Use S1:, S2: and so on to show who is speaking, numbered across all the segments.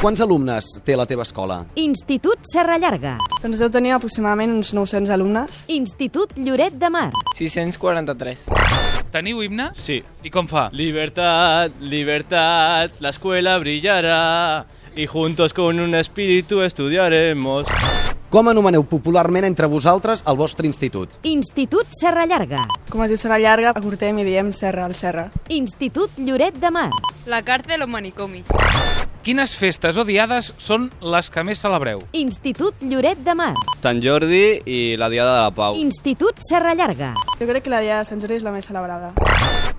S1: Quants alumnes té la teva escola?
S2: Institut Serra Llarga.
S3: Doncs deu tenir aproximadament uns 900 alumnes.
S2: Institut Lloret de Mar.
S4: 643.
S5: Teniu himne?
S6: Sí.
S5: I com fa?
S6: Libertad, libertad, la escuela brillará y juntos con un espíritu estudiaremos.
S1: Com anomeneu popularment entre vosaltres el vostre institut?
S2: Institut Serra Llarga.
S3: Com es diu Serra Llarga, acortem i diem Serra al Serra.
S2: Institut Lloret de Mar.
S7: La cárcel o manicomio.
S5: Quines festes o diades són les que més celebreu?
S2: Institut Lloret de Mar.
S6: Sant Jordi i la Diada de la Pau.
S2: Institut Serra Llarga.
S3: Jo crec que la dia de Sant Jordi és la més celebrada.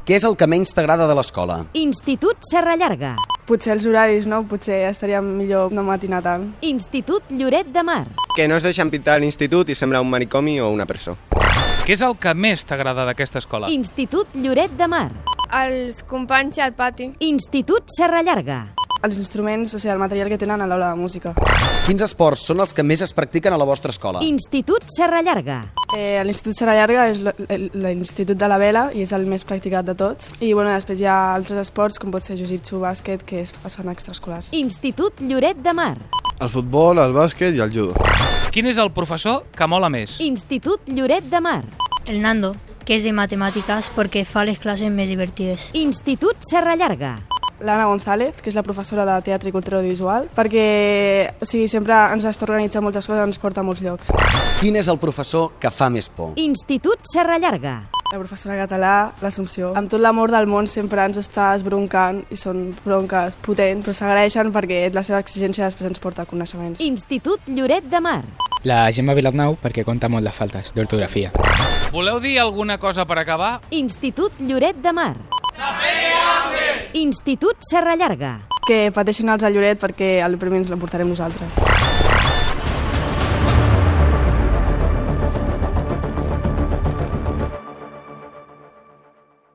S1: Què és el que menys t'agrada de l'escola?
S2: Institut Serra Llarga.
S3: Potser els horaris, no? Potser estaria millor no matinar tant.
S2: Institut Lloret de Mar.
S8: Que no es deixen pintar a l'institut i sembla un manicomi o una presó.
S5: Què és el que més t'agrada d'aquesta escola?
S2: Institut Lloret de Mar.
S7: Els companys al pati.
S2: Institut Serra Llarga.
S3: Els instruments, o sigui, el material que tenen a l'aula de música.
S1: Quins esports són els que més es practiquen a la vostra escola?
S2: Institut Serra Llarga.
S3: Eh, L'Institut Serra Llarga és l- l- l'Institut de la Vela i és el més practicat de tots. I bueno, després hi ha altres esports, com pot ser jiu-jitsu, bàsquet, que es, es fan extraescolars.
S2: Institut Lloret de Mar.
S9: El futbol, el bàsquet i el judo.
S5: Quin és el professor que mola més?
S2: Institut Lloret de Mar.
S10: El Nando, que és de matemàtiques perquè fa les classes més divertides.
S2: Institut Serra Llarga.
S3: l'Anna González, que és la professora de Teatre i Cultura Audiovisual, perquè o sigui, sempre ens està organitzant moltes coses, ens porta a molts llocs.
S1: Quin és el professor que fa més por?
S2: Institut Serra Llarga.
S3: La professora de català, l'Assumpció, amb tot l'amor del món sempre ens està esbroncant i són bronques potents, però s'agraeixen perquè la seva exigència després ens porta a coneixements.
S2: Institut Lloret de Mar.
S4: La Gemma Vilarnau perquè compta molt les faltes d'ortografia.
S5: Voleu dir alguna cosa per acabar?
S2: Institut Lloret de Mar. Institut Serra Llarga.
S3: Que pateixin els de Lloret perquè el premi ens l'emportarem nosaltres.